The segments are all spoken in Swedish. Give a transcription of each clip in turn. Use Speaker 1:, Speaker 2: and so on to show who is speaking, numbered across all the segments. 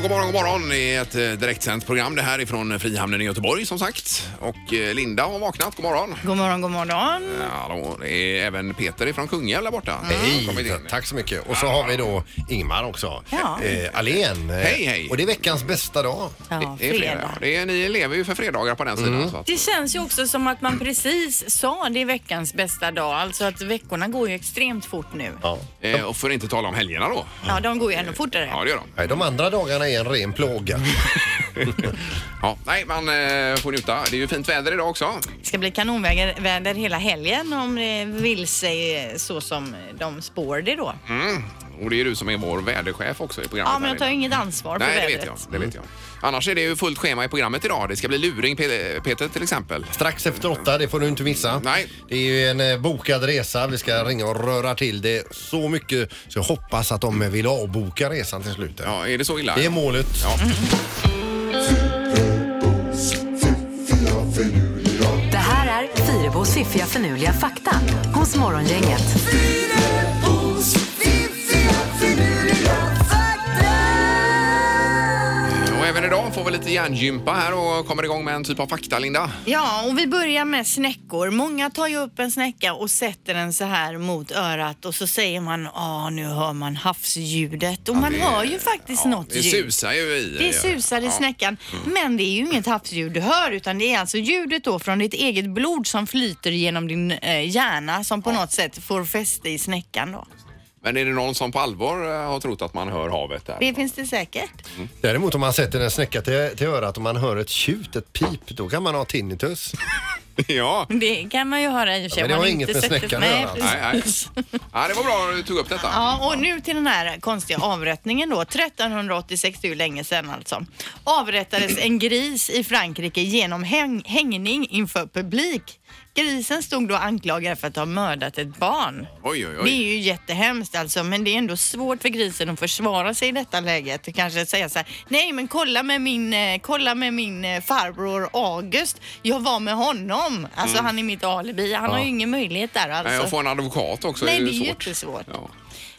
Speaker 1: morgon är ett eh, direktsänt program. Det här är från Frihamnen i Göteborg som sagt. Och eh, Linda har vaknat. God morgon.
Speaker 2: God morgon, god morgon.
Speaker 1: Ja, Hallå, det är även Peter ifrån Kungälv där borta.
Speaker 2: Mm.
Speaker 1: Har kommit
Speaker 3: Hej,
Speaker 1: in.
Speaker 3: tack så mycket. Och så har vi då Ingmar också.
Speaker 2: Ja.
Speaker 3: Eh, Alén. Eh,
Speaker 1: Hej, hej.
Speaker 3: Och det är veckans bästa dag.
Speaker 2: Ja, Mm.
Speaker 1: Det är fredag. ja. Det är, ni lever ju för fredagar på den sidan. Så att,
Speaker 2: Det känns ju också som att man precis sa det är veckans bästa dag. Alltså att veckorna går ju extremt fort nu.
Speaker 3: Ja.
Speaker 1: eh, och för att inte tala om helgerna då.
Speaker 2: Ja, de går ju ännu fortare.
Speaker 1: Ja, det gör de.
Speaker 3: Nej, De andra dagarna är en ren plåga.
Speaker 1: Ja, nej, man eh, får njuta. Det är ju fint väder idag också.
Speaker 2: Det ska bli kanonväder väder hela helgen om det vill sig eh, så som de spår det då.
Speaker 1: Mm. Och det är du som är vår väderchef också i programmet.
Speaker 2: Ja, men
Speaker 1: här,
Speaker 2: jag tar ju
Speaker 1: Linda.
Speaker 2: inget ansvar för
Speaker 1: Nej, det
Speaker 2: vädret.
Speaker 1: vet, jag, det vet jag. Annars är det ju fullt schema i programmet idag. Det ska bli luring, Pe- Peter till exempel.
Speaker 3: Strax efter åtta, det får du inte missa.
Speaker 1: Nej.
Speaker 3: Det är ju en eh, bokad resa. Vi ska ringa och röra till det så mycket så jag hoppas att de vill avboka resan till slut.
Speaker 1: Ja, är det så illa?
Speaker 3: Det är målet.
Speaker 4: Det här är Fyrabos fiffiga förnuliga fakta hos Morgongänget.
Speaker 1: Och även idag får vi lite hjärngympa här och kommer igång med en typ av fakta, Linda.
Speaker 2: Ja, och vi börjar med snäckor. Många tar ju upp en snäcka och sätter den så här mot örat och så säger man ah nu hör man havsljudet. Och man
Speaker 1: det-
Speaker 2: hör ju faktiskt något
Speaker 1: Det
Speaker 2: ljud.
Speaker 1: susar ju i.
Speaker 2: Det susar i snäckan,
Speaker 3: Mm.
Speaker 2: men det är ju inget havsljud du hör utan det är alltså ljudet då från ditt eget blod som flyter genom din eh, hjärna som på något sätt får fäste i snäckan då.
Speaker 1: Men är det någon som på allvar eh, har trott att man hör havet där?
Speaker 2: Det finns det säkert.
Speaker 3: Däremot om man sätter en snäcka till, till örat och man hör ett tjut, ett pip, då kan man ha tinnitus.
Speaker 1: ja.
Speaker 2: Det kan man ju höra i och för sig.
Speaker 3: men det
Speaker 2: om
Speaker 3: har
Speaker 2: man
Speaker 3: inget
Speaker 2: inte
Speaker 3: med
Speaker 2: sätter-
Speaker 3: snäckan att
Speaker 2: Nej,
Speaker 3: göra. alltså.
Speaker 2: precis.
Speaker 1: Nej, nej. Ja, det var bra att du tog upp detta.
Speaker 2: Ja, och nu till den här konstiga avrättningen då. 1386, det är ju länge sedan alltså. Avrättades en gris i Frankrike genom häng hängning inför publik. Grisen stod då anklagad för att ha mördat ett barn.
Speaker 1: Oj, oj,
Speaker 2: Det
Speaker 1: oj.
Speaker 2: är ju jättehemskt alltså, men det är ändå svårt för grisen att försvara sig i detta läget. Och Kanske säga så här, nej men kolla med min, eh, kolla med min eh, farbror August, jag var med honom. Alltså han är mitt alibi, han har ju ingen möjlighet där
Speaker 1: Mm. Nej,
Speaker 2: alltså.
Speaker 1: att få en advokat också
Speaker 2: Nej,
Speaker 1: är ju
Speaker 2: det är
Speaker 1: svårt.
Speaker 2: jättesvårt.
Speaker 1: Ja.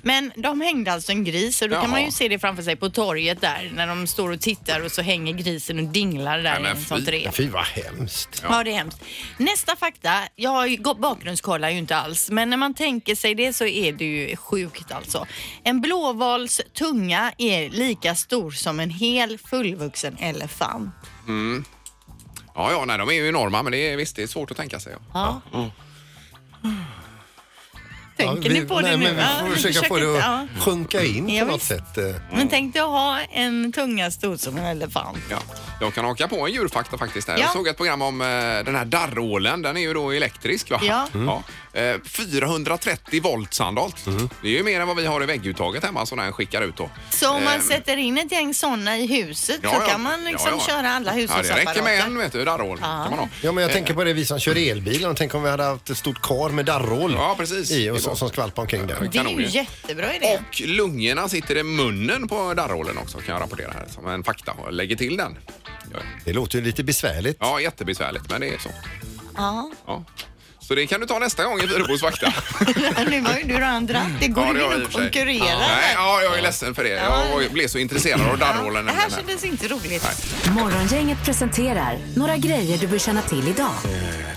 Speaker 2: Men de hängde alltså en gris och då
Speaker 1: Jaha.
Speaker 2: kan man ju se det framför sig på torget där när de står och tittar och så hänger grisen och dinglar där
Speaker 1: Nej, men
Speaker 2: i en sånt
Speaker 1: fy.
Speaker 2: rep.
Speaker 3: Fy vad hemskt.
Speaker 2: Ja. det är hemskt. Nästa fakta, jag har ju- bakgrundskollar ju inte alls, men när man tänker sig det så är det ju sjukt alltså. En blåvals tunga är lika stor som en hel fullvuxen elefant.
Speaker 1: Ja, ja, nej, de är ju enorma, men det är, visst, det är svårt att tänka sig. Ja.
Speaker 2: Ja. Tänker
Speaker 3: Mm. Ja, vi-
Speaker 2: ni på det
Speaker 3: nej,
Speaker 2: nu?
Speaker 3: Men vi
Speaker 2: Ja,
Speaker 3: får försöka
Speaker 2: försök
Speaker 3: få det
Speaker 2: inte,
Speaker 3: att
Speaker 2: ja.
Speaker 3: sjunka in
Speaker 2: Ja,
Speaker 3: på något
Speaker 2: visst.
Speaker 3: sätt. eh.
Speaker 2: Men tänk dig att ha en tunga stor som en elefant.
Speaker 1: Ja. Jag kan haka på en djurfakta faktiskt. Här.
Speaker 2: Ja.
Speaker 1: Jag såg ett program om eh, den här darrålen. Den är ju då elektrisk. Va?
Speaker 2: Ja.
Speaker 1: Eh, 430 volt sandalt. Det är ju mer än vad vi har i vägguttaget hemma som den skickar ut då.
Speaker 2: Så om man
Speaker 1: Ehm.
Speaker 2: sätter in ett gäng sådana i huset
Speaker 1: Ja,
Speaker 2: så
Speaker 1: ja.
Speaker 2: kan man liksom
Speaker 1: Ja, ja.
Speaker 2: köra alla
Speaker 1: Ja, det
Speaker 2: hushållsapparater?
Speaker 1: räcker med en vet du, darrål. Kan man ha.
Speaker 3: Ja, men jag tänker på det vi som kör elbilar. och Tänk om vi hade haft ett stort kar med darrål
Speaker 1: Ja, precis.
Speaker 3: i och
Speaker 1: Det var-
Speaker 3: så, som skvalpade omkring där.
Speaker 2: Det är
Speaker 1: Kanon ju.
Speaker 2: ju jättebra idé.
Speaker 1: Och lungorna sitter i munnen på darrålen också kan jag rapportera här som en fakta. Jag lägger till den. Ja,
Speaker 3: Det låter ju lite besvärligt.
Speaker 1: Ja, jättebesvärligt men det är så.
Speaker 2: Ja.
Speaker 1: Ja. Så det kan du ta nästa gång i Fyrabos fakta.
Speaker 2: nu var ju du redan dratt. Det går
Speaker 1: Mm. Ja, det har jag
Speaker 2: ju
Speaker 1: i
Speaker 2: inte
Speaker 1: och
Speaker 2: att
Speaker 1: för sig.
Speaker 2: konkurrera.
Speaker 1: Nej, ja, jag är ledsen för det. Jag blev så intresserad av darrålen.
Speaker 2: det här
Speaker 1: nämligen här.
Speaker 2: kändes inte roligt.
Speaker 4: Morgongänget presenterar några grejer du bör känna till idag.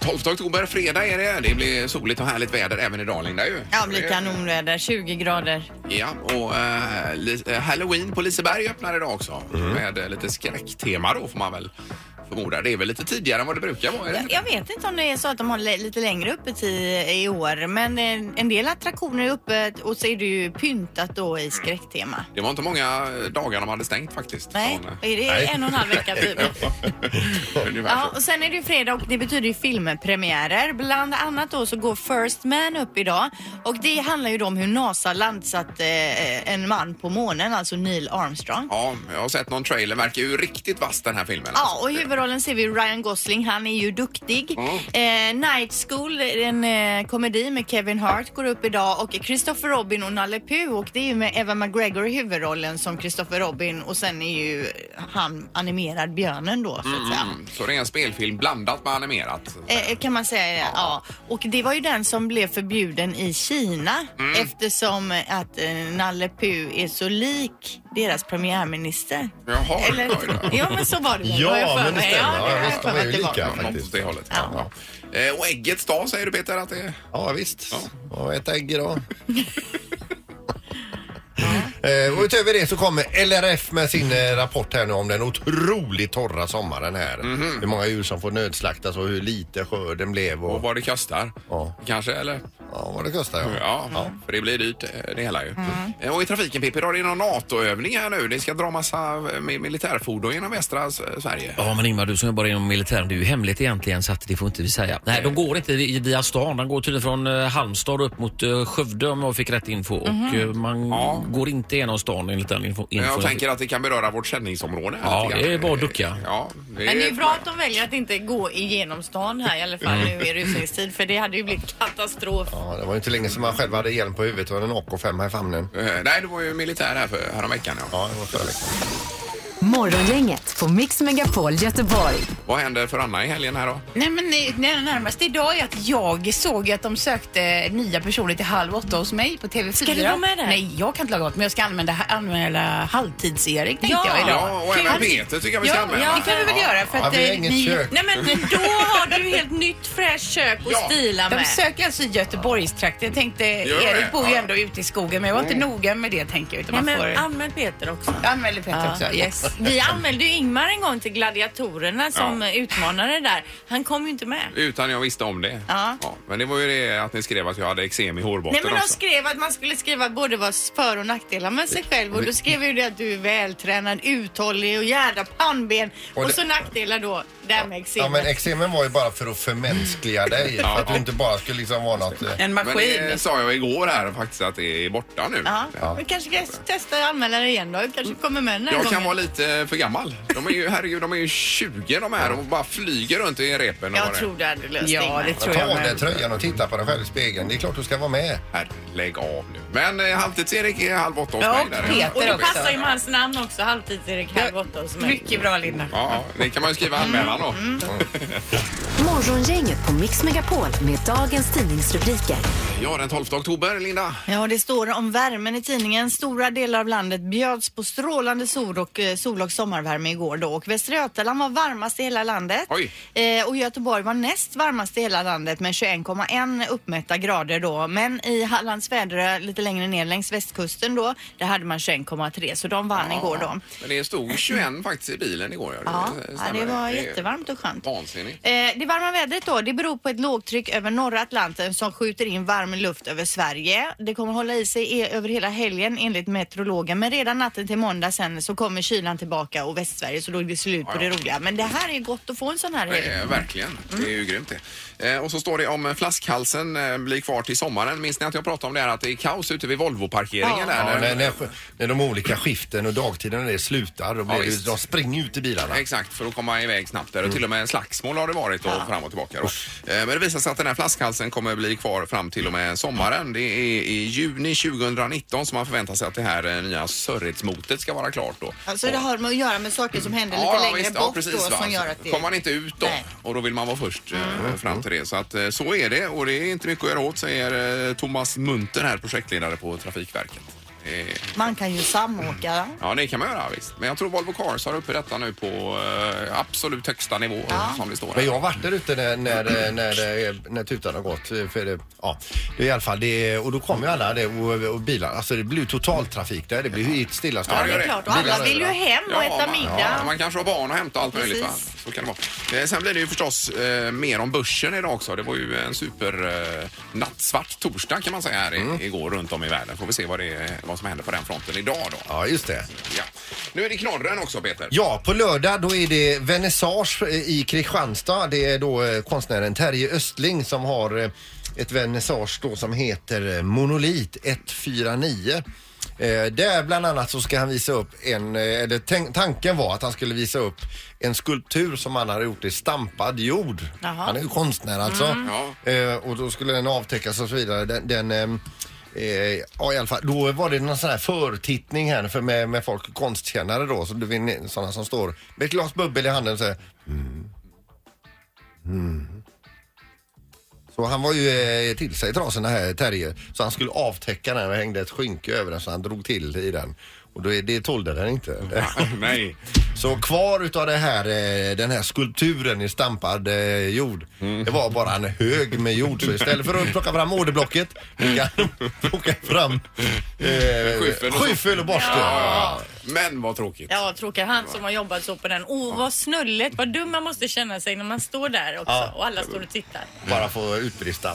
Speaker 1: 12 oktober, fredag är det. Det blir soligt och härligt väder även idag Linda ju.
Speaker 2: Ja, det blir kanonväder. 20 grader.
Speaker 1: Ja, och eh, li- eh, Halloween på Liseberg öppnar idag också. Med eh, lite skräcktema då får man väl förmoda. Det är väl lite tidigare än vad det brukar vara. är det
Speaker 2: Jag,
Speaker 1: inte?
Speaker 2: jag vet inte om det är så att de har le- lite längre öppet i, i år, men eh, en, en del attraktioner är öppet och så är det ju pyntat då i skräcktema.
Speaker 1: Det var inte många dagar de hade stängt faktiskt.
Speaker 2: Nej,
Speaker 1: Från, eh,
Speaker 2: är det en och en halv vecka typ?
Speaker 1: ungefär
Speaker 2: Ja,
Speaker 1: så.
Speaker 2: och sen är det ju fredag och det betyder ju filmpremiärer. Bland annat då så går First Man upp idag och det handlar ju då om hur NASA landsatt eh, en man på månen, alltså Neil Armstrong.
Speaker 1: Ja, jag har sett någon trailer. Verkar ju riktigt vass den här filmen.
Speaker 2: Ja,
Speaker 1: alltså.
Speaker 2: och huvudrollen ser vi Ryan Gosling, han är ju duktig. Eh, Night School, en eh, komedi med Kevin Hart, går upp idag och Christopher Robin och Nalle Puh och det är ju med Eva McGregor i huvudrollen som Christopher Robin och sen är ju han animerad björnen då så att säga.
Speaker 1: Mm, Så det är en spelfilm blandat med animerat.
Speaker 2: Eh, kan man säga, ja. Och det var ju den som blev förbjuden i Kina
Speaker 3: Mm.
Speaker 2: eftersom att eh, Nalle Puh är så lik deras premiärminister.
Speaker 1: Jaha,
Speaker 2: Eller,
Speaker 1: oj då.
Speaker 2: ja men så var det väl, har jag
Speaker 3: Ja,
Speaker 2: för
Speaker 3: men det
Speaker 2: mig.
Speaker 3: stämmer.
Speaker 2: Ja, det har
Speaker 3: Ja,
Speaker 2: jag
Speaker 3: visst,
Speaker 2: för
Speaker 3: de
Speaker 2: mig
Speaker 3: är ju
Speaker 2: att det var.
Speaker 3: lika
Speaker 1: Ja, något åt
Speaker 3: faktiskt.
Speaker 1: det hållet. Ja. Eh, Och äggets dag säger du Peter att det är...
Speaker 3: Ja, visst.
Speaker 1: Ja.
Speaker 3: Ja, ett ägg idag. Eh, och utöver det så kommer LRF med sin eh, rapport här nu om den otroligt torra sommaren här.
Speaker 1: Mhm.
Speaker 3: Hur många djur som får nödslaktas och hur lite skörden blev och,
Speaker 1: Och vad det kostar.
Speaker 3: Ja.
Speaker 1: Kanske, eller?
Speaker 3: ja, vad det kostar. Ja.
Speaker 1: Ja, för det blir dyrt eh, det hela ju.
Speaker 5: Mm.
Speaker 1: Eh, Och i trafiken Pippi, då är det någon NATO-övning här nu. Det ska dra massa eh, mi- militärfordon genom västra S- eh, Sverige.
Speaker 5: Ja, men Ingmar, du som jobbar inom militären, det är ju hemligt egentligen så att det får inte vi säga. Nej, de går inte vi- via stan. De går tydligen från eh, Halmstad upp mot eh, Skövde om jag fick rätt info. Och eh, man
Speaker 1: Mhm. Ja.
Speaker 5: går inte genom stan enligt den info.
Speaker 1: Men Eh, jag
Speaker 5: info
Speaker 1: tänker att det kan beröra vårt sändningsområde. här
Speaker 5: Ja,
Speaker 1: lite grann. Eh,
Speaker 5: det är bara att ducka.
Speaker 1: Ja,
Speaker 2: Men det är bra att de väljer att inte gå igenom stan här i alla fall
Speaker 3: Mm.
Speaker 2: nu i rusningstid för det hade ju blivit katastrof.
Speaker 3: Ja, det var ju inte länge sedan man själv hade hjälm på huvudet och en AK5 här i famnen.
Speaker 1: Eh, Nej, du var ju militär här för, häromveckan. Ja.
Speaker 3: Ja, det var förra veckan.
Speaker 4: Morgongänget på Mix Megapol Göteborg.
Speaker 1: Vad händer för Anna i helgen här då?
Speaker 6: Nej men nej, nej, närmast idag är att jag såg att de sökte nya personer till halv åtta hos mig på TV4.
Speaker 2: Ska du vara med där?
Speaker 6: Nej, jag kan inte laga mat men jag ska använda, använda halvtids-Erik tänkte
Speaker 2: Ja.
Speaker 6: jag idag.
Speaker 1: Ja, och även
Speaker 6: Kul.
Speaker 1: Peter tycker jag vi ska
Speaker 6: Ja,
Speaker 1: anmäla.
Speaker 6: ja, det kan vi väl göra för
Speaker 3: Ja,
Speaker 6: att
Speaker 3: vi har
Speaker 6: eh,
Speaker 3: inget
Speaker 6: ni-
Speaker 3: kök.
Speaker 2: Nej men då har du helt nytt fräscht kök att
Speaker 1: Ja.
Speaker 2: stila
Speaker 6: De
Speaker 2: med.
Speaker 6: söker alltså i Göteborgstrakten. Jag tänkte,
Speaker 1: Gör det.
Speaker 6: Erik bor ju
Speaker 1: Ja.
Speaker 6: ändå ute i skogen men jag var inte noga med det tänker jag. Utan
Speaker 2: Nej,
Speaker 6: man
Speaker 2: men
Speaker 6: får...
Speaker 2: använd Peter också.
Speaker 6: Jag anmälde Peter också. Yes.
Speaker 2: Vi anmälde ju Ingmar en gång till gladiatorerna som
Speaker 1: Ja.
Speaker 2: utmanare där. Han kom ju inte med.
Speaker 1: Utan jag visste om det.
Speaker 2: Ja.
Speaker 1: men det var ju det att ni skrev att jag hade eksem i hårbotten
Speaker 2: Nej men de
Speaker 1: också.
Speaker 2: skrev att man skulle skriva både vad för och nackdelar med sig själv och då skrev ju det att du är vältränad, uthållig och gärda pannben och,
Speaker 3: Och det-
Speaker 2: så nackdelar då, det här med
Speaker 3: Ja, men
Speaker 2: eksemet.
Speaker 3: eksemen var ju bara för att förmänskliga dig. För att du inte bara skulle liksom vara något... eh,
Speaker 6: En
Speaker 1: Men
Speaker 6: maskin.
Speaker 1: det sa jag igår här faktiskt att det är borta nu.
Speaker 2: Ja, vi kanske ska testa att anmäla det igen då. Vi kanske kommer med den här
Speaker 1: Jag
Speaker 2: gången.
Speaker 1: kan vara lite för gammal. De är ju, herregud, de är ju 20 de här och bara flyger runt i repen. Och
Speaker 2: Jag
Speaker 1: vad det är.
Speaker 2: tror det hade löst
Speaker 6: Ja,
Speaker 2: Ingmar.
Speaker 6: det tror
Speaker 3: Ta
Speaker 6: jag
Speaker 3: av dig
Speaker 6: med.
Speaker 3: tröjan och titta på dig själv i spegeln. Det är klart du ska vara med.
Speaker 1: Här, lägg av nu. Men eh, halvtids-Erik är halv åtta hos
Speaker 6: Ja,
Speaker 1: mig.
Speaker 6: och
Speaker 1: där.
Speaker 6: Peter
Speaker 2: Och
Speaker 6: det
Speaker 2: det
Speaker 6: också.
Speaker 2: passar ju med hans namn också, halvtids-Erik halv åtta hos mig.
Speaker 6: Mycket bra Linda.
Speaker 1: Ja, ja, det kan man ju skriva anmälan då.
Speaker 2: Mm,
Speaker 4: Morgongänget på Mix Megapol med dagens tidningsrubriker.
Speaker 1: Ja, den 12 oktober, Linda.
Speaker 2: Ja, det står om värmen i tidningen. Stora delar av landet bjöds på strålande sol och, eh, sol och sommarvärme igår då. Och Västra Götaland var varmast i hela landet.
Speaker 1: Oj.
Speaker 2: Eh, och Göteborg var näst varmast i hela landet med 21,1 uppmätta grader då. Men i Hallands Väderö lite längre ner längs västkusten då, där hade man 21,3 så de vann igår då.
Speaker 1: Men det stod 21 faktiskt i bilen igår.
Speaker 2: Ja, ja,
Speaker 1: stämmer
Speaker 2: det var
Speaker 1: är
Speaker 2: jättevarmt och skönt.
Speaker 1: Vansinnigt.
Speaker 2: Eh, Det varma vädret då, det beror på ett lågtryck över norra Atlanten som skjuter in varm luft över Sverige. Det kommer hålla i sig e- över hela helgen enligt meteorologen men redan natten till måndag sen så kommer kylan tillbaka och Västsverige så då är det slut på
Speaker 1: Ja,
Speaker 2: det
Speaker 1: ja.
Speaker 2: roliga. Men det här är gott att få en sån här helg.
Speaker 1: Eh, verkligen. Det är ju grymt det. Eh, och så står det om eh, flaskhalsen eh, blir kvar till sommaren. Minns ni att jag pratade om det här att det är kaos ute vid Volvo-parkeringen där? Där-
Speaker 3: Ja, när, när, när de olika skiften och dagtiderna det slutar, då blir
Speaker 1: Ja,
Speaker 3: det, ju-
Speaker 1: visst.
Speaker 3: de springer ut i bilarna.
Speaker 1: Exakt, för att komma iväg snabbt. Där. Och till och med en slagsmål har det varit då, fram och tillbaka. Då. Eh, Men det visar sig att den här flaskhalsen kommer bli kvar fram till och med sommaren. Det är i juni 2019 som man förväntar sig att det här eh, nya Sörretsmotet ska vara klart då.
Speaker 2: Alltså det har med att göra med saker som händer
Speaker 1: Ja,
Speaker 2: lite längre
Speaker 1: visst.
Speaker 2: bort
Speaker 1: Ja, precis,
Speaker 2: då
Speaker 1: va. Alltså,
Speaker 2: som gör att det...
Speaker 1: kommer man inte ut då
Speaker 2: Nej.
Speaker 1: och då vill man vara först eh, fram till det. Så att eh, så är det och det är inte mycket att göra åt säger eh, Thomas Munter här, projektledare på Trafikverket. Eh,
Speaker 2: Man kan ju samåka. va?
Speaker 1: Ja, det kan man göra visst. Men jag tror Volvo Cars har uppe detta nu på eh, absolut högsta nivå som det står här.
Speaker 3: Men jag har varit där ute när, när, när, när tutan har gått. eh, För det, ja, det är i alla fall det, och då kommer ju alla det, och, och bilar. Alltså det blir ju totaltrafik där. Det blir ju helt
Speaker 1: Ja,
Speaker 3: stillastående.
Speaker 1: det gör
Speaker 2: Det är klart, och alla vill ju hem och äta
Speaker 1: man,
Speaker 2: middag.
Speaker 1: ja, man kanske har barn och hämta och allt möjligt. Va?
Speaker 2: Precis.
Speaker 1: Så kan det vara. Eh, sen blir det ju förstås eh, mer om börsen idag också. Det var ju en super eh, nattsvart torsdag kan man säga här i,
Speaker 3: Mm.
Speaker 1: igår runt om i världen. Får vi se vad, det, är- vad som händer på den fronten idag då.
Speaker 3: Ja, just det.
Speaker 1: Ja. Nu är det knorren också Peter.
Speaker 3: Ja, på lördag då är det vernissage eh, i Kristianstad. Det är då eh, konstnären Terje Östling som har eh, ett vernissage då som heter eh, Monolit 149. Eh, där bland annat så ska han visa upp en, eh, eller tänk, tanken var att han skulle visa upp en skulptur som han hade gjort i stampad jord.
Speaker 2: Jaha.
Speaker 3: Han är ju konstnär alltså.
Speaker 1: Mm. Ja.
Speaker 3: Eh, och då skulle den avtäckas och så vidare. Den, den, ehm, eh, ja, i alla fall. Då var det någon sån här förtittning här för med, med folk, konstkännare då, så du vet, sådana som står med ett glas bubbel i handen och säger "Mm, Så han var ju eh, till sig trasorna här, Terje. Så han skulle avtäcka den och hängde ett skynke över den så han drog till i den. Och det, det tålde den inte.
Speaker 1: Nej.
Speaker 3: Så kvar utav det här, eh, den här skulpturen i stampad eh, jord, det var bara en hög med jord. Så istället för att plocka fram orderblocket fick han plocka fram
Speaker 1: Skyffel
Speaker 3: eh,
Speaker 1: och-
Speaker 3: skyffel och borste.
Speaker 1: Men vad tråkigt.
Speaker 7: Ja, tråkigt. Han som har jobbat så på den. Åh, oh, vad snullet. Vad dum man måste känna sig när man står där också
Speaker 3: Ja.
Speaker 7: och alla står och tittar.
Speaker 3: Bara få utbrista.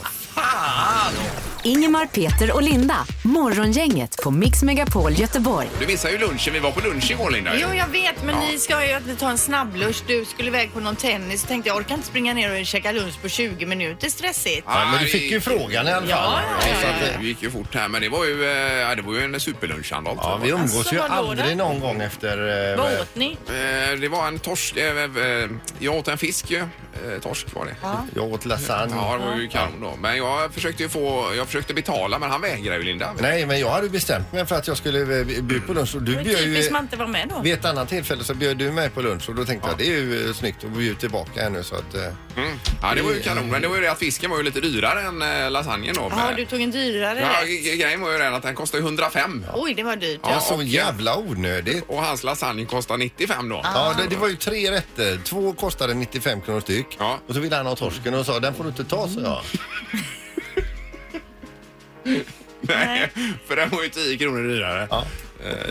Speaker 4: Ingemar, Peter och Linda. Morgongänget på Mix Megapol Göteborg.
Speaker 1: Du missade ju lunchen. Vi var på lunch igår Linda.
Speaker 2: Jo, jag vet, men
Speaker 1: Ja.
Speaker 2: ni ska ju att vi tar en snabblunch. Du skulle iväg på någon tennis. Tänkte jag orkar inte springa ner och käka lunch på 20 minuter. Stressigt.
Speaker 1: Ja,
Speaker 3: Men du fick ju
Speaker 1: det-
Speaker 3: frågan i alla fall.
Speaker 1: Ja, så att, eh, vi gick ju fort här, men det var ju, eh, ja, det var ju en superlunch Arnold.
Speaker 3: Ja, vi umgås
Speaker 7: Alltså,
Speaker 3: ju
Speaker 7: vad då
Speaker 3: aldrig någon gång efter... eh,
Speaker 7: Vad åt ni?
Speaker 1: Eh, Det var en torsk. eh, eh, Jag åt en fisk ju. Eh, Torsk var det.
Speaker 3: Jag åt lasagne.
Speaker 1: Ja, det var ju kanon då. Men jag försökte ju få, jag försökte betala men han vägrade ju Linda.
Speaker 3: Nej, men jag hade ju bestämt mig för att jag skulle eh, bjuda på lunch och du
Speaker 7: Men
Speaker 3: bjöd ju...
Speaker 7: Typiskt man inte var med då.
Speaker 3: Vid ett annat tillfälle så bjöd du mig på lunch och då tänkte jag det är ju eh, snyggt att bjuda tillbaka här nu så att... eh,
Speaker 1: Mm. Ja, det var ju kanon. Men det var ju det att fisken var ju lite dyrare än eh, lasagnen då.
Speaker 2: Ja,
Speaker 1: Men-
Speaker 2: du tog en dyrare
Speaker 1: Ja,
Speaker 2: rätt.
Speaker 1: gre- grejen var ju den att den kostade 105
Speaker 2: Oj, det var dyrt.
Speaker 1: Ja.
Speaker 3: Ja, så jävla onödigt.
Speaker 1: och hans lasagne kostade 95 då.
Speaker 3: Ja, det, det var ju tre rätter. Två kostade 95 kronor styck.
Speaker 1: Ja.
Speaker 3: Och så ville han ha torsken och sa den får du inte ta, så jag.
Speaker 1: Nej, för den var ju 10 kronor dyrare.
Speaker 3: Ja.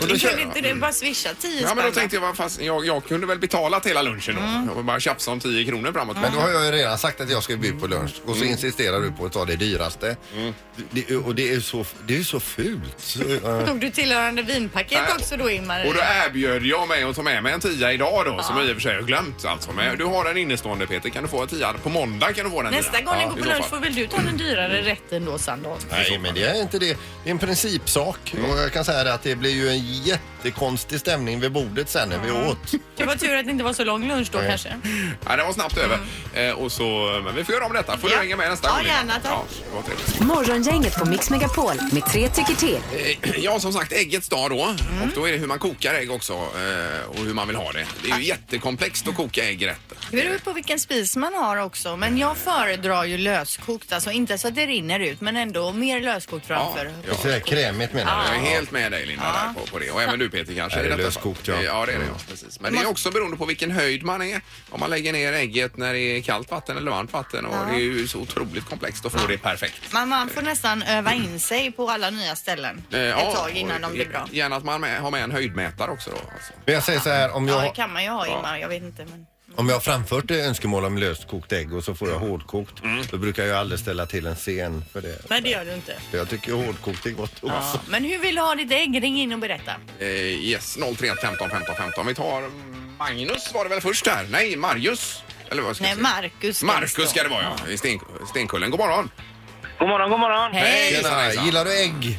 Speaker 3: Och då
Speaker 7: Du
Speaker 3: kö-
Speaker 7: kunde inte du bara swisha 10
Speaker 1: Mm. Ja,
Speaker 7: spänn?
Speaker 1: men då
Speaker 7: va?
Speaker 1: tänkte jag, vad fast jag, jag kunde väl betalat hela lunchen då. Och bara tjafsa om 10 kronor framåt.
Speaker 3: Men då har jag ju redan sagt att jag ska bjuda på lunch och så insisterar du på att ta det dyraste. Det, och det är ju så, det är ju så fult. Så, eh,
Speaker 2: Tog du tillhörande vinpaket
Speaker 1: Nej.
Speaker 2: också då, Ingmar?
Speaker 1: Och då erbjöd jag mig att ta med mig en tia idag då, som jag i och för sig har glömt alltså. Men du har den innestående Peter, kan du få en tia? På måndag kan du få den
Speaker 7: Nästa
Speaker 1: tian.
Speaker 7: gång ni
Speaker 1: Ja,
Speaker 7: går
Speaker 1: i
Speaker 7: på
Speaker 1: så
Speaker 7: lunch
Speaker 1: fall. Mm.
Speaker 7: får väl du ta den dyrare rätten då, Sandholm?
Speaker 3: Nej, men det är Mm. inte det. Det är en principsak och jag kan säga det att det blir ju en jättekonstig stämning vid bordet sen när vi åt.
Speaker 7: Det var tur att det inte var så lång lunch då kanske.
Speaker 1: Ja, det var snabbt över. Eh, och så, men vi får göra om detta. Får du
Speaker 2: Mm. Ja.
Speaker 1: hänga med nästa
Speaker 2: Ja,
Speaker 1: gång? Linda?
Speaker 2: gärna, tack.
Speaker 1: Ja, det var trevligt.
Speaker 4: Morgongänget på Mix Megapol med tre tycker till.
Speaker 1: Eh, Ja, som sagt, äggets dag då.
Speaker 2: Mm.
Speaker 1: Och då är det hur man kokar ägg också eh, och hur man vill ha det. Det är ju jättekomplext att koka ägg rätt.
Speaker 2: Det beror på vilken spis man har också. Men jag föredrar ju löskokt. Alltså inte så att det rinner ut, men ändå mer löskokt framför.
Speaker 1: Ja.
Speaker 3: Så här krämigt menar
Speaker 1: Jag
Speaker 3: du?
Speaker 1: är helt med dig Linda där på, på det och även du Peter kanske.
Speaker 3: Ja, det är
Speaker 1: i detta
Speaker 3: löskokt,
Speaker 1: fall.
Speaker 3: ja. Mm.
Speaker 1: Ja, det är det. Ja, precis. Men det är också beroende på vilken höjd man är. Om man lägger ner ägget när det är kallt vatten eller varmt vatten och det är ju så otroligt komplext att få det perfekt.
Speaker 2: Men man får nästan öva in sig på alla nya ställen
Speaker 1: Eh,
Speaker 2: ett tag innan
Speaker 1: och
Speaker 2: de blir bra.
Speaker 1: Gärna att man med, har med en höjdmätare också då. Alltså.
Speaker 3: Men jag säger så här, om
Speaker 2: Ja, det
Speaker 3: jag,
Speaker 2: kan man ju ha Ingmar. Jag vet inte. Men...
Speaker 3: om jag har framfört eh, önskemål om löst kokt ägg och så får jag hårdkokt,
Speaker 1: Mm.
Speaker 3: då brukar jag aldrig ställa till en scen för det.
Speaker 7: Nej, det gör du inte.
Speaker 3: För Jag tycker hårdkokt är gott också.
Speaker 2: Ja. Men hur vill du ha ditt ägg? Ring in och berätta.
Speaker 1: Eh, yes, 031 15 15 15. Vi tar Magnus var det väl först här? Nej, Marius. Eller vad ska
Speaker 2: Nej,
Speaker 1: jag säga?
Speaker 2: Marcus. ska det
Speaker 1: Marcus
Speaker 2: stå.
Speaker 1: ska det vara ja, i Sten, Stenkullen. God morgon.
Speaker 8: God morgon, god morgon.
Speaker 1: Hej!
Speaker 3: Tjena,
Speaker 1: hejsan.
Speaker 3: gillar du ägg?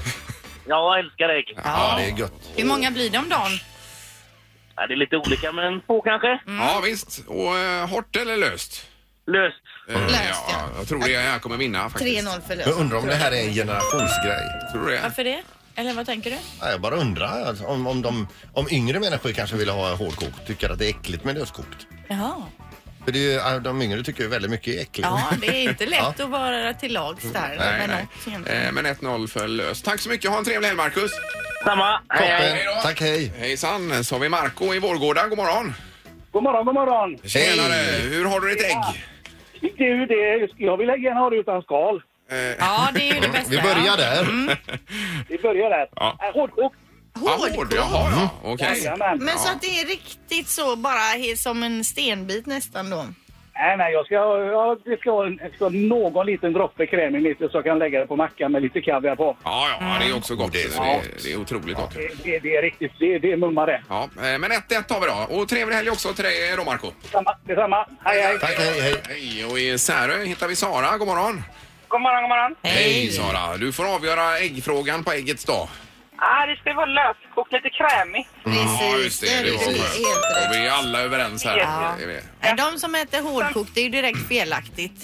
Speaker 8: Jag älskar ägg.
Speaker 3: Ja, det är gött.
Speaker 2: Hur många blir det om dagen?
Speaker 8: Ja, det är lite olika, men två kanske.
Speaker 2: Mm.
Speaker 1: Ja, visst. Och eh, hårt eller löst?
Speaker 8: Löst.
Speaker 1: Eh,
Speaker 2: Löst,
Speaker 1: ja.
Speaker 2: ja.
Speaker 1: Jag tror det jag kommer vinna faktiskt.
Speaker 2: 3-0 för
Speaker 3: Jag
Speaker 2: löst.
Speaker 3: undrar om det här är en generationsgrej.
Speaker 1: Tror du det?
Speaker 7: Varför det? Eller vad tänker du?
Speaker 3: Ja, jag bara undrar alltså, om, om, de, om yngre människor kanske vill ha hårdkokt, tycker att det är äckligt med löskokt.
Speaker 7: Jaha.
Speaker 3: För det är ju, ja, de yngre tycker ju väldigt mycket är äckligt.
Speaker 7: Ja, det är inte lätt
Speaker 3: Ja.
Speaker 7: att vara till lags där.
Speaker 1: Nej,
Speaker 7: men
Speaker 1: nej.
Speaker 7: någonting.
Speaker 1: Eh, Men 1-0 för löst. Tack så mycket. Ha en trevlig helg, Marcus.
Speaker 8: Samma. Hej,
Speaker 3: Toppen.
Speaker 8: hej.
Speaker 1: då.
Speaker 3: Tack, hej.
Speaker 1: Hejsan. Så har vi Marco i Vårgårda. God morgon.
Speaker 8: God morgon, god morgon.
Speaker 1: Tjenare. Hur har du ditt ägg?
Speaker 8: Du, det, jag vill gärna ha det utan skal.
Speaker 7: Ja, det är ju det bästa.
Speaker 3: Vi börjar
Speaker 2: Mm.
Speaker 3: där.
Speaker 8: Vi börjar där.
Speaker 1: Ja.
Speaker 8: Äh, Hårdkokt.
Speaker 1: Ah, hård. Jaha,
Speaker 2: Mm.
Speaker 1: ja. Okej.
Speaker 2: Alltså.
Speaker 8: Jajamän.
Speaker 2: Men så att det är riktigt så bara he- som en stenbit nästan då.
Speaker 8: Nej, Äh, nej, jag ska, ha- ja, det ska vara en- det ska vara någon liten droppe kräm i mitten så jag kan lägga det på mackan med lite kaviar på.
Speaker 1: Ja, ja. Det är också gott. Det
Speaker 3: Det är
Speaker 1: är, det är otroligt gott.
Speaker 8: Det, det, det är riktigt, det, det är mumma det.
Speaker 1: Ja, eh, men 1-1 har vi då. Och trevlig helg också till dig eh, då, Marco.
Speaker 8: Samma, detsamma. Hej, hej.
Speaker 3: Tack, hej, hej.
Speaker 1: Hej, och i Särö hittar vi Sara. God morgon.
Speaker 8: God morgon, god morgon.
Speaker 1: Hej, Sara. Du får avgöra äggfrågan på äggets dag.
Speaker 9: Ah, det ska vara löskokt, lite krämigt.
Speaker 1: Mm. Ja, just det. Det var
Speaker 2: precis, helt
Speaker 1: skönt.
Speaker 2: rätt.
Speaker 1: Och vi är alla överens här.
Speaker 9: Ja.
Speaker 1: Det är vi.
Speaker 2: Nej, De som äter hårdkokt, det är ju direkt felaktigt.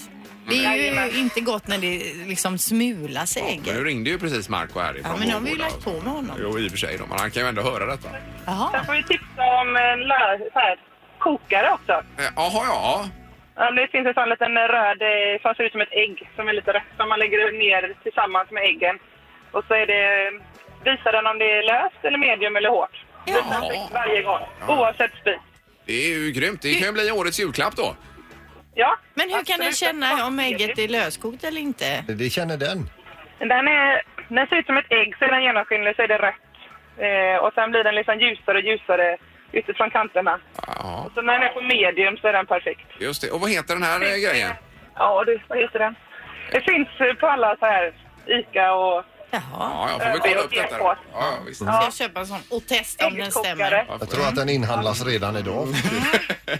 Speaker 2: Det är ju inte gott när det liksom smular sig ägg.
Speaker 1: Men nu ringde ju precis Marco härifrån.
Speaker 2: Ja, men nu har vi ju
Speaker 1: Vårgårda.
Speaker 2: lagt på med honom.
Speaker 1: Jo, i och för sig. Då. Men han kan ju ändå höra detta.
Speaker 2: Jaha.
Speaker 9: Sen får vi tipsa om en lö- så här, kokare också.
Speaker 1: Eh, Jaha, ja.
Speaker 9: Ja, Det finns en sån liten röd eh, som ser ut som ett ägg, som är lite rött, som man lägger ner tillsammans med äggen. Och så är det, visar den om det är löst eller medium eller hårt. Utan fisk Varje gång, oavsett spis.
Speaker 1: Det är ju grymt. Det kan ju bli årets julklapp då.
Speaker 9: Ja,
Speaker 2: Men hur kan den
Speaker 9: absolut.
Speaker 2: känna om ägget är löskokt eller inte?
Speaker 3: Det känner den.
Speaker 9: Den, är, den ser ut som ett ägg, så är den genomskinlig så är det rött. Eh, och sen blir den liksom ljusare och ljusare utifrån kanterna.
Speaker 1: Ja,
Speaker 9: Så när den är på medium så är den perfekt.
Speaker 1: just det. Och vad heter den här eh, grejen?
Speaker 9: Ja, du, vad heter den? Det finns eh, på alla så här Ica och
Speaker 2: Jaha.
Speaker 1: Ja, jag får väl kolla upp detta då. Ja, visst.
Speaker 2: Ska jag köpa en sån och testa om den stämmer?
Speaker 9: äggkokare.
Speaker 1: Ja,
Speaker 3: Jag tror att den inhandlas redan idag.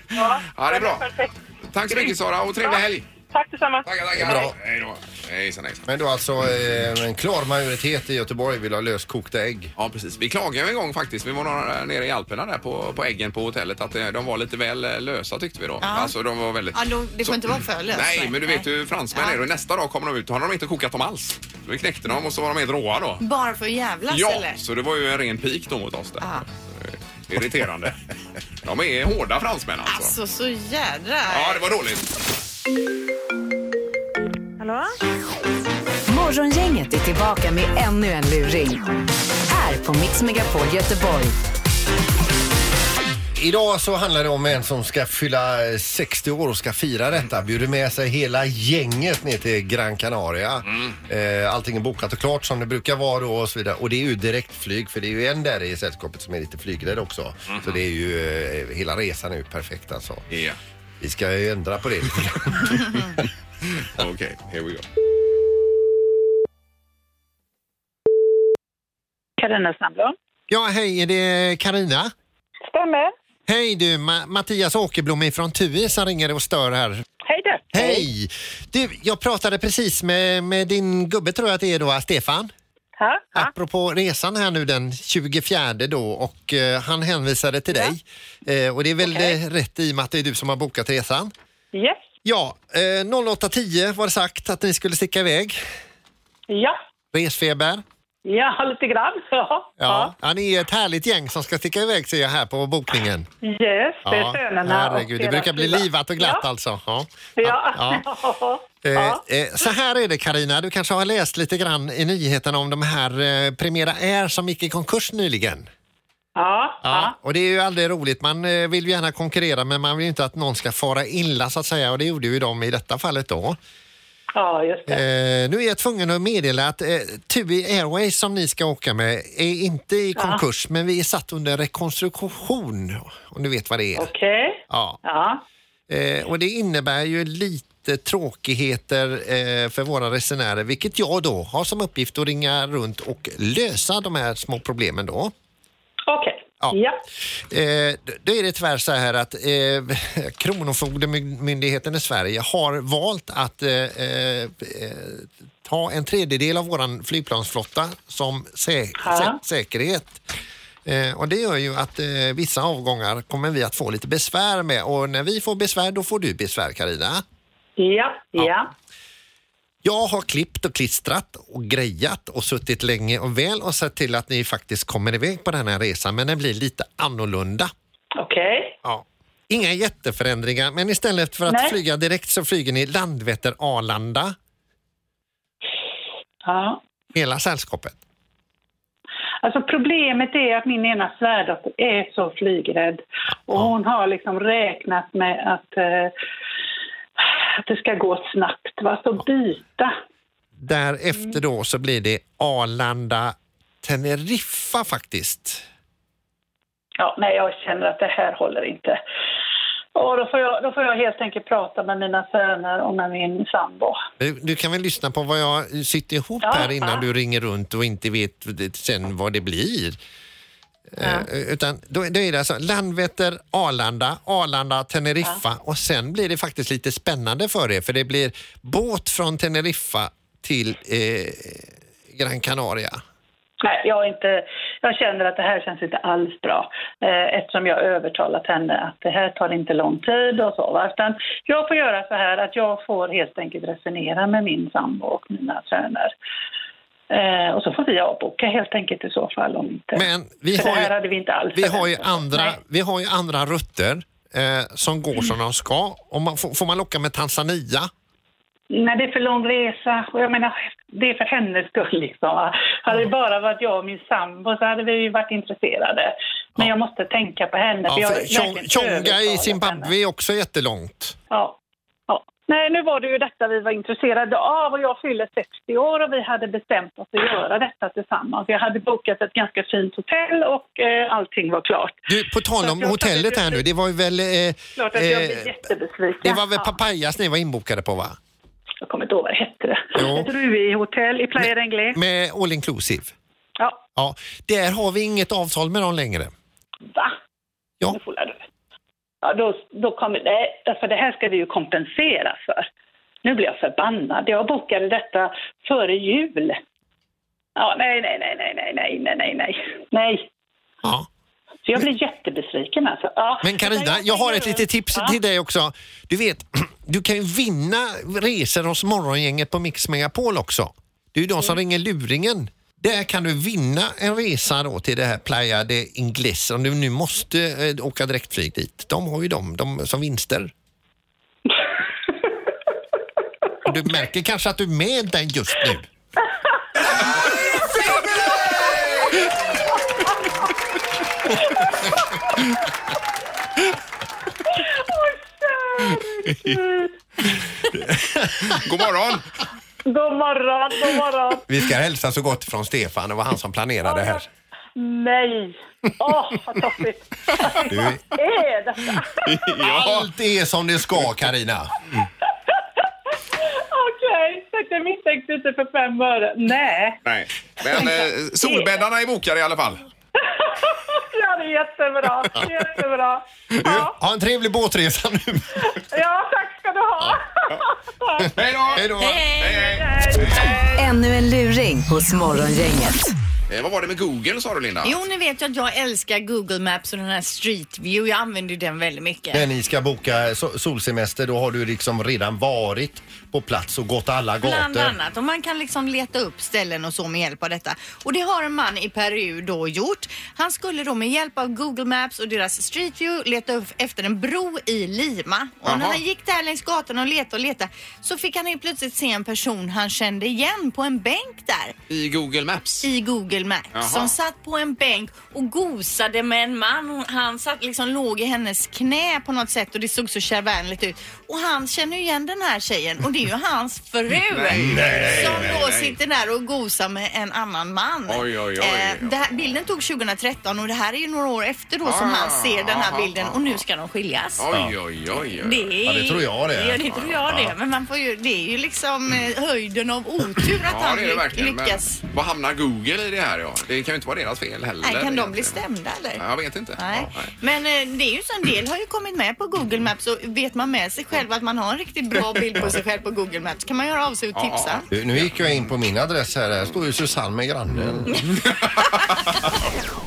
Speaker 9: Ja,
Speaker 1: Ja, det är bra.
Speaker 9: den perfekt.
Speaker 1: Tack så mycket Sara och trevlig
Speaker 9: Ja.
Speaker 1: helg!
Speaker 9: Tack detsamma.
Speaker 1: Tackar,
Speaker 3: Bra.
Speaker 1: tackar! Hej då! Hejsan, hejsan.
Speaker 3: Men då alltså eh, en klar majoritet i Göteborg vill ha löskokta ägg.
Speaker 1: Ja, precis. Vi klagade ju en gång faktiskt. Vi var några, nere i Alperna där på, på äggen på hotellet att eh, de var lite väl eh, lösa tyckte vi då. Alltså de var väldigt...
Speaker 2: Ja, då, det får inte vara för löst.
Speaker 1: Nej, men du vet ju hur fransmän
Speaker 2: Ja.
Speaker 1: är. Och nästa dag kommer de ut och har de inte kokat dem alls. Så vi knäckte dem och så var de helt råa då.
Speaker 2: Bara för att jävlas
Speaker 1: Ja,
Speaker 2: eller?
Speaker 1: så det var ju en ren pik då mot oss där.
Speaker 2: Ja.
Speaker 1: Eh, Irriterande. De är hårda fransmän alltså.
Speaker 2: Alltså så jädra...
Speaker 1: Ja, det var dåligt.
Speaker 9: Hallå?
Speaker 4: Morgongänget är tillbaka med ännu en luring. Här på Mix Megapol Göteborg.
Speaker 3: Idag så handlar det om en som ska fylla eh, 60 år och ska fira detta. Bjuder med sig hela gänget ner till Gran Canaria. Eh, Allting är bokat och klart som det brukar vara då och så vidare. Och det är ju direktflyg för det är ju en där i sällskapet som är lite flygrädd också. Så det är ju, eh, hela resan är ju perfekt alltså.
Speaker 1: Ja.
Speaker 3: Vi ska ju ändra på det lite grann.
Speaker 1: Okej, here we go.
Speaker 9: Carina Snabbblom.
Speaker 10: Ja, hej, är det Karina?
Speaker 9: Stämmer.
Speaker 10: Hej du, Ma- Mattias Åkerblom från TUI som ringer och stör här.
Speaker 9: Hej du.
Speaker 10: Hej! Du, jag pratade precis med, med din gubbe tror jag att det är då, Stefan.
Speaker 9: Ha? Ha?
Speaker 10: Apropå resan här nu den 24 då och eh, han hänvisade till dig. Eh, och det är väl
Speaker 9: Okej.
Speaker 10: eh, rätt i och med att det är du som har bokat resan.
Speaker 9: Yes.
Speaker 10: Ja, eh, 08.10 var det sagt att ni skulle sticka iväg.
Speaker 9: Ja.
Speaker 10: Resfeber.
Speaker 9: Ja, lite grann. Ja.
Speaker 10: Ja. ja, ni är ett härligt gäng som ska sticka iväg ser jag här på bokningen.
Speaker 9: Yes, det är sönerna.
Speaker 10: herregud, det
Speaker 9: och deras
Speaker 10: brukar bli
Speaker 9: fruar.
Speaker 10: livat och glatt
Speaker 9: ja.
Speaker 10: alltså. Ja.
Speaker 9: Ja.
Speaker 10: Ja.
Speaker 9: Ja.
Speaker 10: Eh, eh, så här är det Karina, du kanske har läst lite grann i nyheterna om de här eh, Primera Air som gick i konkurs nyligen.
Speaker 9: Ja. Ja.
Speaker 10: Och det är ju aldrig roligt, man eh, vill ju gärna konkurrera men man vill ju inte att någon ska fara illa så att säga och det gjorde ju de i detta fallet då.
Speaker 9: ja, just det.
Speaker 10: Eh, nu är jag tvungen att meddela att eh, TUI Airways som ni ska åka med är inte i konkurs men vi är satt under rekonstruktion om du vet vad det är.
Speaker 9: Okej.
Speaker 10: Ja.
Speaker 9: Ja.
Speaker 10: Eh, och det innebär ju lite tråkigheter eh, för våra resenärer, vilket jag då har som uppgift att ringa runt och lösa de här små problemen då.
Speaker 9: Okej.
Speaker 10: Ja.
Speaker 9: Ja.
Speaker 10: Eh, d- då är det tyvärr så här att eh, Kronofogdemyndigheten i Sverige har valt att eh, eh, eh, ta en tredjedel av våran flygplansflotta som sä-
Speaker 9: Ja.
Speaker 10: sä- säkerhet. Eh, och det gör ju att eh, vissa avgångar kommer vi att få lite besvär med och när vi får besvär då får du besvär Karina.
Speaker 9: Ja. Ja.
Speaker 10: Jag har klippt och klistrat och grejat och suttit länge och väl och sett till att ni faktiskt kommer iväg på den här resan men den blir lite annorlunda.
Speaker 9: Okej.
Speaker 10: Ja. Inga jätteförändringar, men istället för att
Speaker 9: Nej.
Speaker 10: flyga direkt så flyger ni Landvetter-Arlanda,
Speaker 9: Ja.
Speaker 10: hela sällskapet.
Speaker 9: Alltså problemet är att min ena svärdotter är så flygrädd. Och hon har liksom räknat med att, eh, att det ska gå snabbt. Va? Så byta.
Speaker 10: Därefter då så blir det Arlanda-Teneriffa faktiskt.
Speaker 9: Ja, nej, jag känner att det här håller inte. Och då, får jag, då får jag helt enkelt prata med mina söner och med min sambo.
Speaker 10: Du, Eh, du kan väl lyssna på vad jag sitter ihop
Speaker 9: Ja,
Speaker 10: här innan
Speaker 9: ja.
Speaker 10: du ringer runt och inte vet sen vad det blir. Eh, utan då, då är det alltså Landvetter, Arlanda, Arlanda, Teneriffa och sen blir det faktiskt lite spännande för er för det blir båt från Teneriffa till eh, Gran Canaria.
Speaker 9: Nej, jag, är inte, jag känner att det här känns inte alls bra eh, eftersom jag har övertalat henne att det här tar inte lång tid och så. Va? Utan jag får göra så här att jag får helt enkelt resonera med min sambo och mina söner. Eh, och så får vi avboka helt enkelt i så fall om inte...
Speaker 10: Men vi
Speaker 9: För
Speaker 10: har
Speaker 9: det
Speaker 10: ju-
Speaker 9: här hade vi inte alls
Speaker 10: Vi har ju
Speaker 9: förväntat oss.
Speaker 10: andra, vi har ju andra rutter eh, som går som de ska. Om man, får, får man locka med Tanzania?
Speaker 9: Nej, det är för lång resa. Och jag menar, det är för hennes skull. Liksom. va. Hade det bara varit jag och min sambo så hade vi ju varit intresserade. Men jag måste tänka på henne.
Speaker 10: Ja,
Speaker 9: för jag
Speaker 10: för
Speaker 9: har
Speaker 10: Tjong-
Speaker 9: verkligen
Speaker 10: Tjonga i
Speaker 9: övertalat
Speaker 10: Zimbabwe är också jättelångt.
Speaker 9: Ja. ja. Nej, nu var det ju detta vi var intresserade av och jag fyller 60 år och vi hade bestämt oss att göra detta tillsammans. Jag hade bokat ett ganska fint hotell och eh, allting var klart.
Speaker 10: Du, på tal om hotellet här nu, det var ju väl... Eh,
Speaker 9: Klart att jag
Speaker 10: eh,
Speaker 9: blev jättebesviken.
Speaker 10: det var väl Papayas ni var inbokade på va?
Speaker 9: Jag kommer inte ihåg vad det hette.
Speaker 10: Jo.
Speaker 9: Ett Rui-hotell i Playa del Inglés.
Speaker 10: Med all inclusive.
Speaker 9: Ja.
Speaker 10: ja. Där har vi inget avtal med dem längre.
Speaker 9: Va?
Speaker 10: Ja.
Speaker 9: Nu får du. Ja, då, då kommer det, för det här ska vi ju kompensera för. Nu blir jag förbannad. Jag bokade detta före jul. Ja, nej, nej, nej, nej, nej, nej, nej, nej, nej. Nej.
Speaker 10: Ja.
Speaker 9: Så jag blir jättebesviken alltså. Ja.
Speaker 10: Men Karina, jag har ett litet tips till dig också. Du vet, du kan ju vinna resor hos Morgongänget på Mix Megapol också. Det är ju de som ringer luringen. Där kan du vinna en resa då till det här Playa de Ingles om du nu måste eh, åka direktflyg dit. De har ju dem de, som vinster. Och du märker kanske att du är med den just nu.
Speaker 1: God morgon!
Speaker 9: God morgon, god morgon.
Speaker 10: Vi ska hälsa så gott från Stefan, det var han som planerade det här.
Speaker 9: Nej. Åh, vad toppigt.
Speaker 10: Du är-
Speaker 9: Vad är detta?
Speaker 10: Allt är som det ska Karina.
Speaker 9: Okej, okay. jag misstänkte inte för fem öre. Nej.
Speaker 1: Nej. Men eh, solbäddarna är bokade i alla fall.
Speaker 9: Ja, det är jättebra. Jättebra.
Speaker 10: Ha en trevlig båtresa nu.
Speaker 9: Ja, tack ska du ha.
Speaker 1: Hej då! Hej
Speaker 10: då!
Speaker 4: Ännu en luring hos Morgongänget.
Speaker 1: Eh, vad var det med Google sa du Linda?
Speaker 2: Jo, ni vet ju att jag älskar Google Maps och den här Street View. Jag använder ju den väldigt mycket.
Speaker 3: När ni ska boka so- solsemester då har du liksom redan varit på plats och gått alla
Speaker 2: Bland
Speaker 3: gator.
Speaker 2: annat. Och man kan liksom leta upp ställen och så med hjälp av detta. Och det har en man i Peru då gjort. Han skulle då med hjälp av Google Maps och deras Street View leta upp efter en bro i Lima. Och när
Speaker 11: Jaha.
Speaker 2: han gick där längs gatan och letade och letade så fick han helt plötsligt se en person han kände igen på en bänk där.
Speaker 1: I Google Maps?
Speaker 2: I Google Maps.
Speaker 1: Jaha.
Speaker 2: Som satt på en bänk och gosade med en man. Hon- Han satt liksom låg i hennes knä på något sätt och det såg så kärvänligt ut. Och han känner ju igen den här tjejen och det är ju hans fru.
Speaker 11: Nej, nej,
Speaker 2: som
Speaker 11: nej,
Speaker 2: då
Speaker 11: nej.
Speaker 2: sitter där och gosar med en annan man.
Speaker 11: Oj, oj, oj.
Speaker 2: Eh, det här, bilden tog 2013 och det här är ju några år efter då som
Speaker 11: Ah,
Speaker 2: han ser den här
Speaker 11: aha,
Speaker 2: bilden och nu ska de skiljas.
Speaker 1: Oj, oj, oj.
Speaker 2: Det är,
Speaker 1: Ja, det tror jag det.
Speaker 2: Ja, det tror jag det. Men man får ju, det är ju liksom eh, höjden av otur att
Speaker 1: Ja,
Speaker 2: han
Speaker 1: det är det
Speaker 2: ly-
Speaker 1: verkligen. Men
Speaker 2: lyckas.
Speaker 1: vad hamnar Google i det här? Ja? Det kan ju inte vara deras fel heller.
Speaker 2: Nej, kan de
Speaker 1: egentligen.
Speaker 2: bli stämda eller?
Speaker 1: Ja, Jag vet inte.
Speaker 2: Nej.
Speaker 1: Ja, nej.
Speaker 2: Men eh, det är ju så en del har ju kommit med på Google Maps och vet man med sig själv att man har en riktigt bra bild på sig själv på Google Maps kan man göra av sig och tipsa.
Speaker 3: Du, nu gick jag in på min adress här, här står ju Susanne med grannen.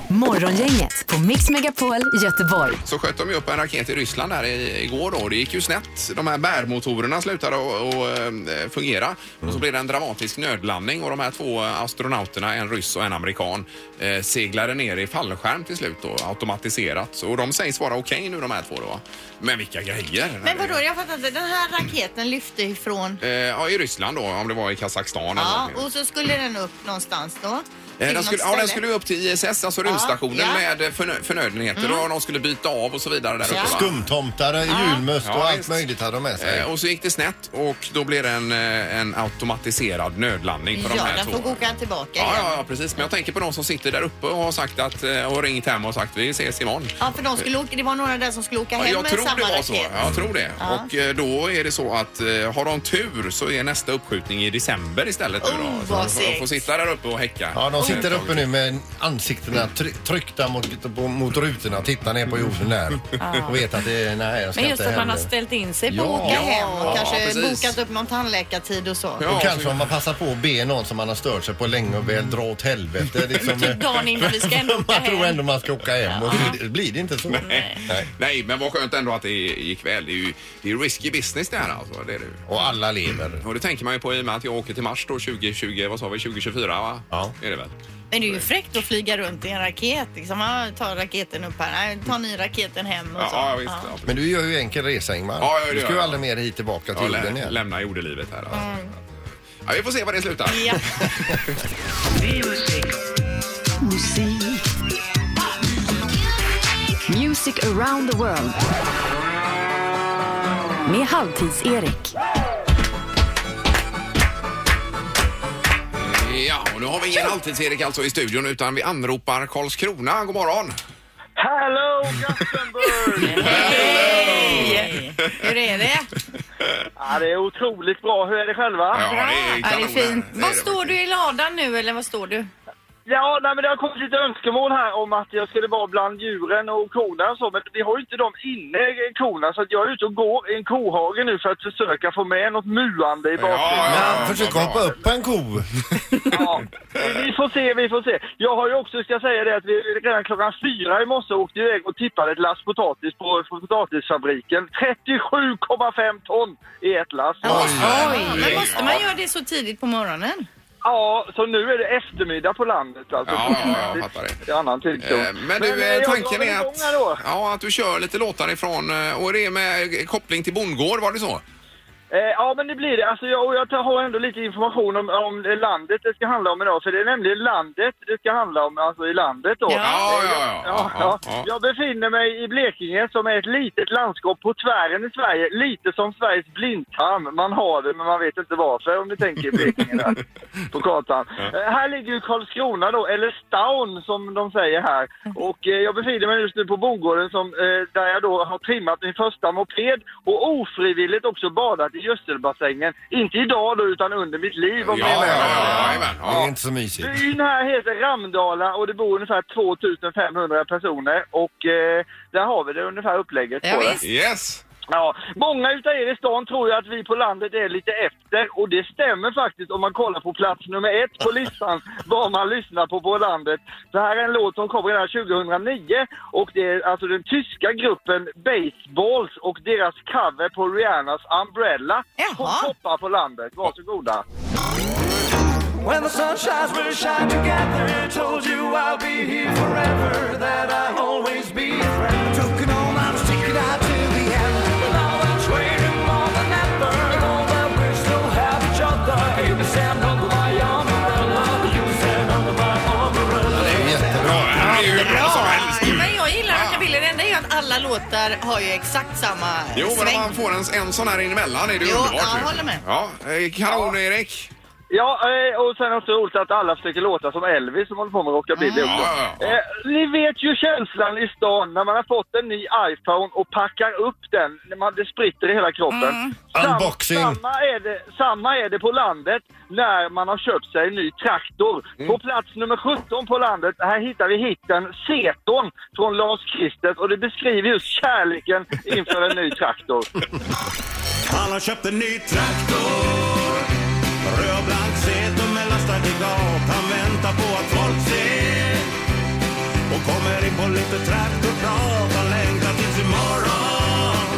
Speaker 4: Morgongänget på Mix Megapol Göteborg.
Speaker 1: Så sköt de ju upp en raket i Ryssland här i- igår då. Det gick ju snett. De här bärmotorerna slutade att att, eh, fungera. Och så blev det en dramatisk nödlandning och de här två astronauterna, en ryss och en amerikan, eh, seglade ner i fallskärm till slut då, automatiserat. Och de sägs vara okej nu de här två då. Men vilka grejer!
Speaker 2: Men vadå, jag fattar inte. Den här raketen lyfte ifrån
Speaker 1: Eh, Ja, i Ryssland då, om det var i Kazakstan eller
Speaker 2: Ja,
Speaker 1: någonting.
Speaker 2: och så skulle den upp någonstans då?
Speaker 1: Eh,
Speaker 2: Till
Speaker 1: Den
Speaker 2: något
Speaker 1: skulle, ja, den
Speaker 2: ställe.
Speaker 1: skulle ju upp till ISS, alltså
Speaker 2: Ja,
Speaker 1: rymdstationen
Speaker 2: ja.
Speaker 1: med eh, förnö- förnödenheter
Speaker 2: Mm.
Speaker 1: och de skulle byta av och så vidare där
Speaker 3: Ja.
Speaker 1: uppe. va?
Speaker 3: Skumtomtar, julmust och
Speaker 1: Ja,
Speaker 3: allt
Speaker 1: visst.
Speaker 3: möjligt hade de med sig.
Speaker 1: Eh, och så gick det snett och då blev det en, eh, en automatiserad nödlandning för de
Speaker 2: Ja,
Speaker 1: här
Speaker 2: den
Speaker 1: två.
Speaker 2: får åka tillbaka
Speaker 1: Ja,
Speaker 2: igen.
Speaker 1: ja, ja, precis. Men jag tänker på de som sitter där uppe och har sagt att, eh, och ringt hem och sagt vi ses imorgon.
Speaker 2: Ja, för de skulle åka, det var några där som skulle åka
Speaker 1: Ja,
Speaker 2: hem
Speaker 1: jag
Speaker 2: med
Speaker 1: tror
Speaker 2: samma
Speaker 1: det var
Speaker 2: raket.
Speaker 1: så. Jag tror det.
Speaker 2: Ja.
Speaker 1: Och eh, då är det så att eh, har de tur så är nästa uppskjutning i december istället nu då.
Speaker 2: Oh,
Speaker 1: Så
Speaker 2: vad
Speaker 1: de får-
Speaker 2: segt.
Speaker 1: får sitta där uppe och häcka.
Speaker 3: Ja, de sitter uppe nu med ansiktena try- tryckta mot, på- mot rutorna, titta ner på jorden där
Speaker 2: Ja.
Speaker 3: och veta att det, nej, jag ska
Speaker 2: Men just
Speaker 3: inte
Speaker 2: att man har
Speaker 3: hem.
Speaker 2: ställt in sig på
Speaker 3: Ja.
Speaker 2: att åka hem och
Speaker 3: Ja,
Speaker 2: kanske
Speaker 3: precis.
Speaker 2: bokat upp någon tandläkartid och så.
Speaker 3: och kanske om man passar på att be någon som man har stört sig på länge och väl dra åt helvete. Liksom,
Speaker 2: Typ dagen innan vi ska ändå åka
Speaker 3: Man tror
Speaker 2: hem.
Speaker 3: ändå man ska åka hem och så blir det inte så.
Speaker 1: Nej. Nej, men vad skönt ändå att det gick väl. Det är ju det är risky business det här alltså. Det är det.
Speaker 3: Och alla lever.
Speaker 1: Och det tänker man ju på i och med att jag åker till Mars då 2020, vad sa vi, 2024 va? Ja. Är det väl?
Speaker 2: Men det är ju fräckt att flyga runt i en raket. Liksom, ja, ta raketen upp här, Nej, ta ni raketen hem och så. Ja.
Speaker 3: Men du gör ju enkel resa Ingmar.
Speaker 1: Ja, ja, det
Speaker 3: du ska
Speaker 1: gör
Speaker 3: ju
Speaker 1: jag.
Speaker 3: aldrig mer hit tillbaka till
Speaker 1: Ja, lä-
Speaker 3: jorden igen.
Speaker 1: lämna jordelivet här alltså.
Speaker 2: Mm.
Speaker 1: Ja, vi får se var det slutar.
Speaker 2: Ja.
Speaker 4: Musik. Music around the world. Med Halvtids-Erik.
Speaker 1: Ja, och nu har vi ingen Halvtids-Erik alltså i studion utan vi anropar Karlskrona. God morgon!
Speaker 11: Hello Gothenburg!
Speaker 2: Hej! Hur är det?
Speaker 11: Ja, det är otroligt bra. Hur är det själva?
Speaker 1: Ja,
Speaker 2: Ja, det är fint. Vad står du i ladan nu eller vad står du?
Speaker 11: Ja, nej, men det har kommit lite önskemål här om att jag skulle vara bland djuren och korna och så, men vi har ju inte dem inne, eh, korna, så att jag är ute och går i en kohage nu för att försöka få med något muande i bakgrunden.
Speaker 3: Men försök hoppa upp på en ko.
Speaker 11: Vi får se, vi får se. Jag har ju också, ska säga det, att vi redan klockan fyra i morse åkte iväg och tippade ett lass potatis på, på potatisfabriken. 37,5 ton i ett lass.
Speaker 2: Ja, men måste man göra det så tidigt på morgonen?
Speaker 11: Ja, så nu är det eftermiddag på landet alltså.
Speaker 1: Ja, ja, ja, jag fattar det.
Speaker 11: Det är annan tidszon.
Speaker 1: Men du, eh,
Speaker 11: jag
Speaker 1: tanken
Speaker 11: drar
Speaker 1: är
Speaker 11: igång
Speaker 1: att,
Speaker 11: här då.
Speaker 1: ja, att du kör lite låtar ifrån, eh, och det är med eh, koppling till bondgård, var det så?
Speaker 11: Eh, ja, men det blir det. Alltså, jag, och jag tar- har ändå lite information om, om det landet det ska handla om idag. För det är nämligen landet det ska handla om, alltså i landet då.
Speaker 1: Ja, ja, ja, ja,
Speaker 11: Eh, jag-
Speaker 1: ja, ja.
Speaker 11: Jag befinner mig i Blekinge som är ett litet landskap på tvären i Sverige. Lite som Sveriges blindtarm. Man har det, men man vet inte varför om ni tänker i Blekinge där, på kartan. Eh, här ligger ju Karlskrona då, eller Staun som de säger här. Och eh, jag befinner mig just nu på bondgården som, eh, där jag då har trimmat min första moped och ofrivilligt också badat i gödselbassängen. Inte idag då, utan under mitt liv om ni är med.
Speaker 3: Det är inte så mysigt.
Speaker 11: Byn här heter Ramdala och det bor ungefär 2500 personer och eh, där har vi det ungefär upplägget
Speaker 1: Ja,
Speaker 11: på
Speaker 1: visst.
Speaker 11: det.
Speaker 1: Yes!
Speaker 11: Ja, många utav er i stan tror ju att vi på landet är lite efter och det stämmer faktiskt om man kollar på plats nummer ett på listan vad man lyssnar på på landet. Det här är en låt som kom redan 2009 och det är alltså den tyska gruppen Baseballs och deras cover på Rihannas Umbrella som toppar på landet. Varsågoda.
Speaker 12: When the sun shines, we'll shine together. Told you I'll be here forever, that I'll always be a friend. Took it all, I'm sticking out to the end. Well, now it's waiting more than ever. And all that we still have each other. You can stand under my umbrella. You can stand under my umbrella.
Speaker 2: Men jag gillar att Camilla, det enda är ju att alla låtar har ju exakt samma
Speaker 1: Jo, men om
Speaker 2: sväng.
Speaker 1: man får en, en sån här in emellan är det ju
Speaker 2: Jo,
Speaker 1: underbart.
Speaker 2: jag
Speaker 1: ju.
Speaker 2: håller med.
Speaker 1: Ja, eh, kanon Erik!
Speaker 11: Ja, eh, och sen också roligt att alla försöker låta som Elvis som håller på med rockabilly
Speaker 1: Mm.
Speaker 11: också.
Speaker 1: Ja, ja,
Speaker 11: Eh, ni vet ju känslan i stan när man har fått en ny iPhone och packar upp den. När man, det spritter i hela kroppen. Sam-
Speaker 3: Unboxing.
Speaker 11: Samma är, det, samma är det på landet när man har köpt sig en ny traktor. På plats nummer 17 på landet, här hittar vi hitten Seton från Lars Christer och det beskriver just kärleken inför en ny traktor.
Speaker 12: Han har köpt en ny traktor Rödblankt sete med lastarkigat Han väntar på att folk ser Och kommer in på lite traktorprat Han längtar tills imorgon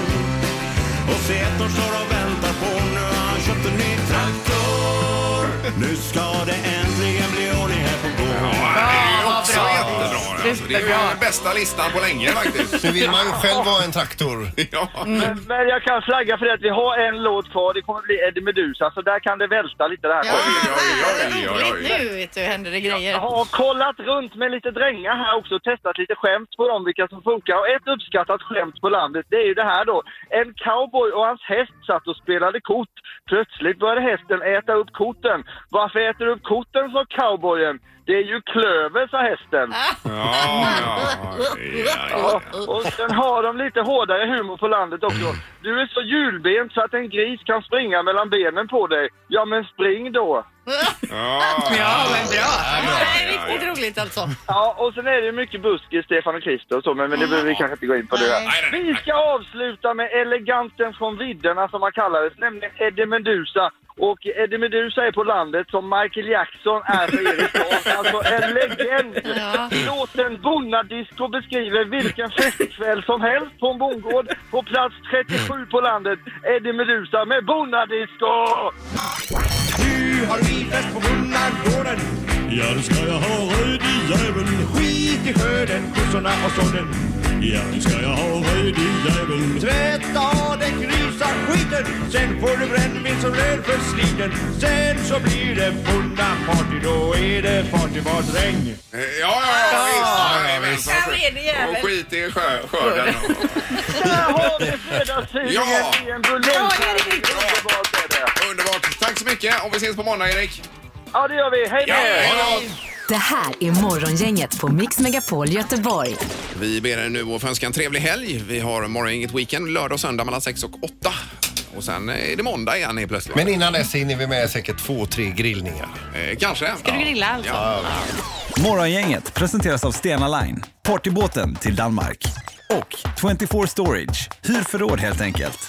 Speaker 12: Och Setor står och väntar på Nu har han köpt en ny traktor Nu ska det äntligen bli ordning här på gården
Speaker 1: Också jättebra. det. Alltså, det är ju den bästa listan på länge faktiskt.
Speaker 3: Nu vill man ju själv vara en traktor.
Speaker 2: Mm.
Speaker 11: Men, men jag kan flagga för det att vi har en låt kvar. Det kommer bli Eddie Meduza, så där kan det välta lite där.
Speaker 2: Nu vet du, händer det grejer.
Speaker 11: Jag har kollat runt med lite drängar här också och testat lite skämt på dem, vilka som funkar. Och ett uppskattat skämt på landet, det är ju det här då. En cowboy och hans häst satt och spelade kort. Plötsligt började hästen äta upp korten. Varför äter du upp korten, sa cowboyen.
Speaker 9: Det är ju klöver, sa hästen. Ja, och sen har de lite hårdare humor på landet också. Du är så hjulbent så att en gris kan springa mellan benen på dig. Ja, men spring då!
Speaker 13: Ja, men bra. Det är riktigt roligt alltså.
Speaker 9: Ja, och sen är det ju mycket buskis, Stefan och Christer och så, men, men det behöver vi kanske inte gå in på nu. Vi ska avsluta med eleganten från vidderna som han kallades, nämligen Eddie Meduza. Och Eddie Meduza är på landet som Michael Jackson är för er i stan. Alltså en legend! Låten Bonnadisco beskriver vilken festkväll som helst på en bondgård på plats 37 på landet. Eddie Meduza med Bonnadisco!
Speaker 14: Du har bilfest på bondagården Ja, det ska jag ha röd i jäveln Skit i skörden, kossorna och sådden Ja, det ska jag ha röd i jäveln Tvätta av den grusa skiten Sen får du brännvin som lön för sliten Sen så blir det bondaparty Då är det partybadräng
Speaker 1: Ja, ja, ja, visst. Ja, visst.
Speaker 14: Där är det jävel.
Speaker 1: Och skit i sjö, skörden.
Speaker 9: Där har vi fredagstidningen
Speaker 1: Ja.
Speaker 9: i en buljong!
Speaker 1: Underbart. Tack så mycket. Och vi ses på måndag, Erik.
Speaker 9: Ja, det gör vi. Hej
Speaker 1: då!
Speaker 15: Det här är Morgongänget på Mix Megapol Göteborg.
Speaker 1: Vi ber er nu att få önska en trevlig helg. Vi har morgongänget weekend lördag och söndag mellan 6 och 8. Och sen är det måndag igen helt plötsligt.
Speaker 3: Men innan dess hinner vi med säkert två, tre grillningar.
Speaker 1: Eh, kanske. Ska
Speaker 13: du grilla alltså?
Speaker 12: Morgongänget presenteras av Stena Line, partybåten till Danmark. Och 24 Storage, hyr förråd helt enkelt.